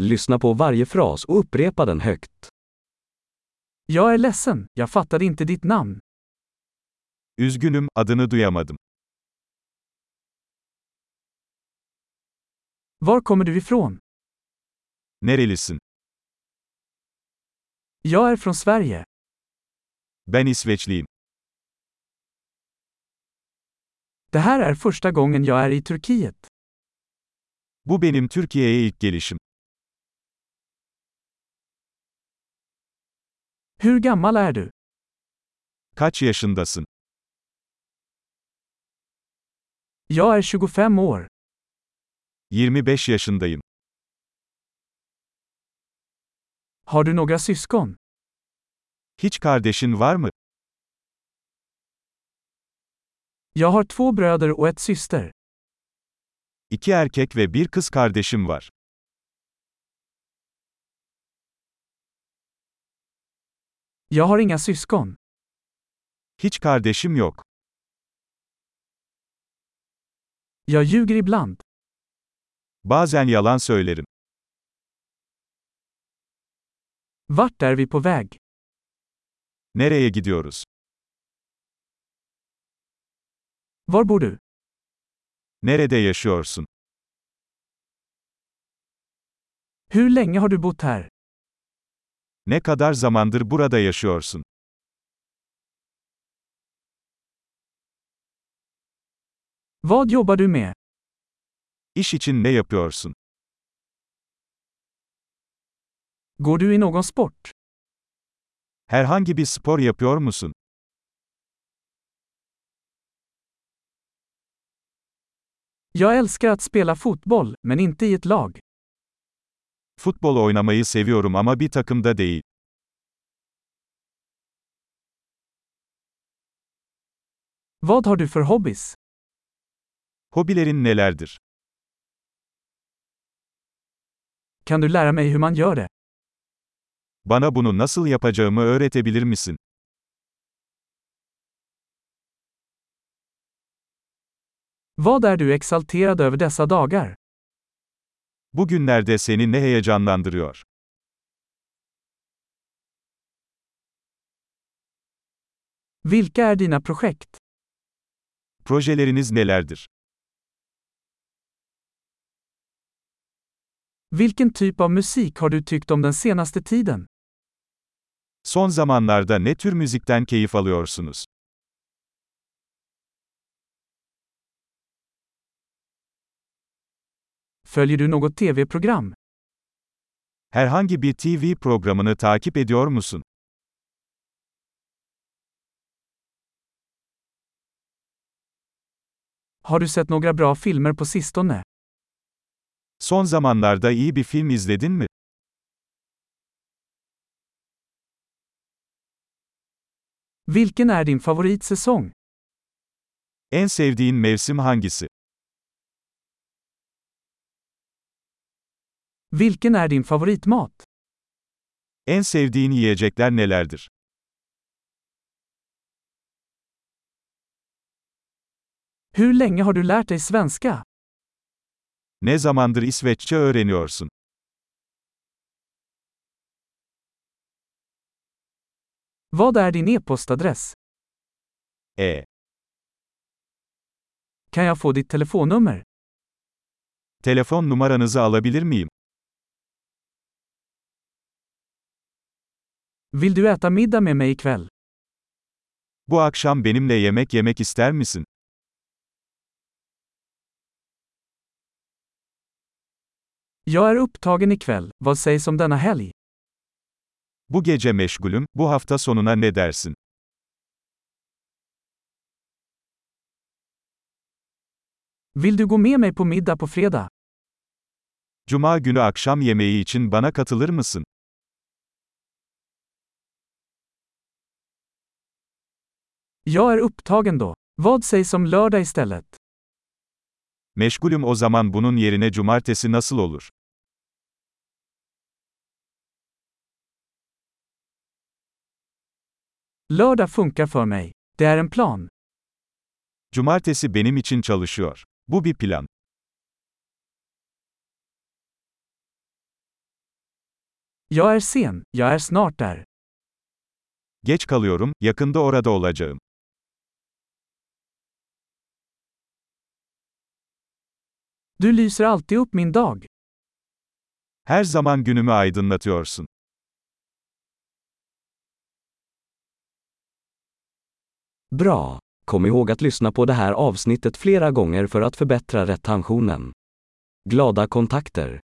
Lyssna på varje fras och upprepa den högt. Jag är ledsen, jag fattade inte ditt namn. Üzgünüm, adını duyamadım. Var kommer du ifrån? Nerelisin? Jag är från Sverige. Ben İsveçliyim. Det här är första gången jag är i Turkiet. Bu benim Türkiye'ye ilk gelişim. Hur gammal är du? Kaç yaşındasın? Jag är 25 år. 25 yaşındayım. Har du några syskon? Hiç kardeşin var mı? Jag har två bröder och ett syster. İki erkek ve bir kız kardeşim var. Jag har inga syskon. Hiç kardeşim yok. Jag ljuger ibland. Bazen yalan söylerim. Vart är vi på väg? Nereye gidiyoruz? Var bor du? Nerede yaşıyorsun? Hur länge har du bott här? Ne kadar zamandır burada yaşıyorsun? Vad jobbar du med? İş için ne yapıyorsun? Går du i någon sport? Herhangi bir spor yapıyor musun? Jag älskar att spela fotboll, men inte i ett lag. Futbol oynamayı seviyorum ama bir takımda değil. Vad har du för hobbys? Hobilerin nelerdir? Kan du lära mig hur man gör det? Bana bunu nasıl yapacağımı öğretebilir misin? Vad är du exalterad över dessa dagar? Bugünlerde seni ne heyecanlandırıyor? Vilka är dina projekt? Projeleriniz nelerdir? Vilken typ av musik har du tyckt om den senaste tiden? Son zamanlarda ne tür müzikten keyif alıyorsunuz? Följer du något tv-program? Herhangi bir TV programını takip ediyor musun? Har du sett några bra filmer på sistone? Son zamanlarda iyi bir film izledin mi? Vilken är din favoritsäsong? En sevdiğin mevsim hangisi? Vilken är din favoritmat? En sevdiğin yiyecekler nelerdir? Hur länge har du lärt dig svenska? Ne zamandır İsveççe öğreniyorsun? Vad är din e-postadress? E. Kan jag få ditt telefonnummer? Telefon numaranızı alabilir miyim? Vill du äta middag med mig ikväll? Bu akşam benimle yemek yemek ister misin? Jag är upptagen ikväll, vad sägs om denna helg? Bu gece meşgulüm, bu hafta sonuna ne dersin? Vill du gå med mig på middag på fredag? Cuma günü akşam yemeği için bana katılır mısın? Jag är upptagen då. Vad sägs om lördag istället? Meşgulüm o zaman bunun yerine cumartesi nasıl olur? Lördag funkar för mig. Det är en plan. Cumartesi benim için çalışıyor. Bu bir plan. Jag är sen, jag är snart där. Geç kalıyorum, yakında orada olacağım. Du lyser alltid upp min dag. Her zaman günümü aydınlatıyorsun. Bra! Kom ihåg att lyssna på det här avsnittet flera gånger för att förbättra retentionen. Glada kontakter!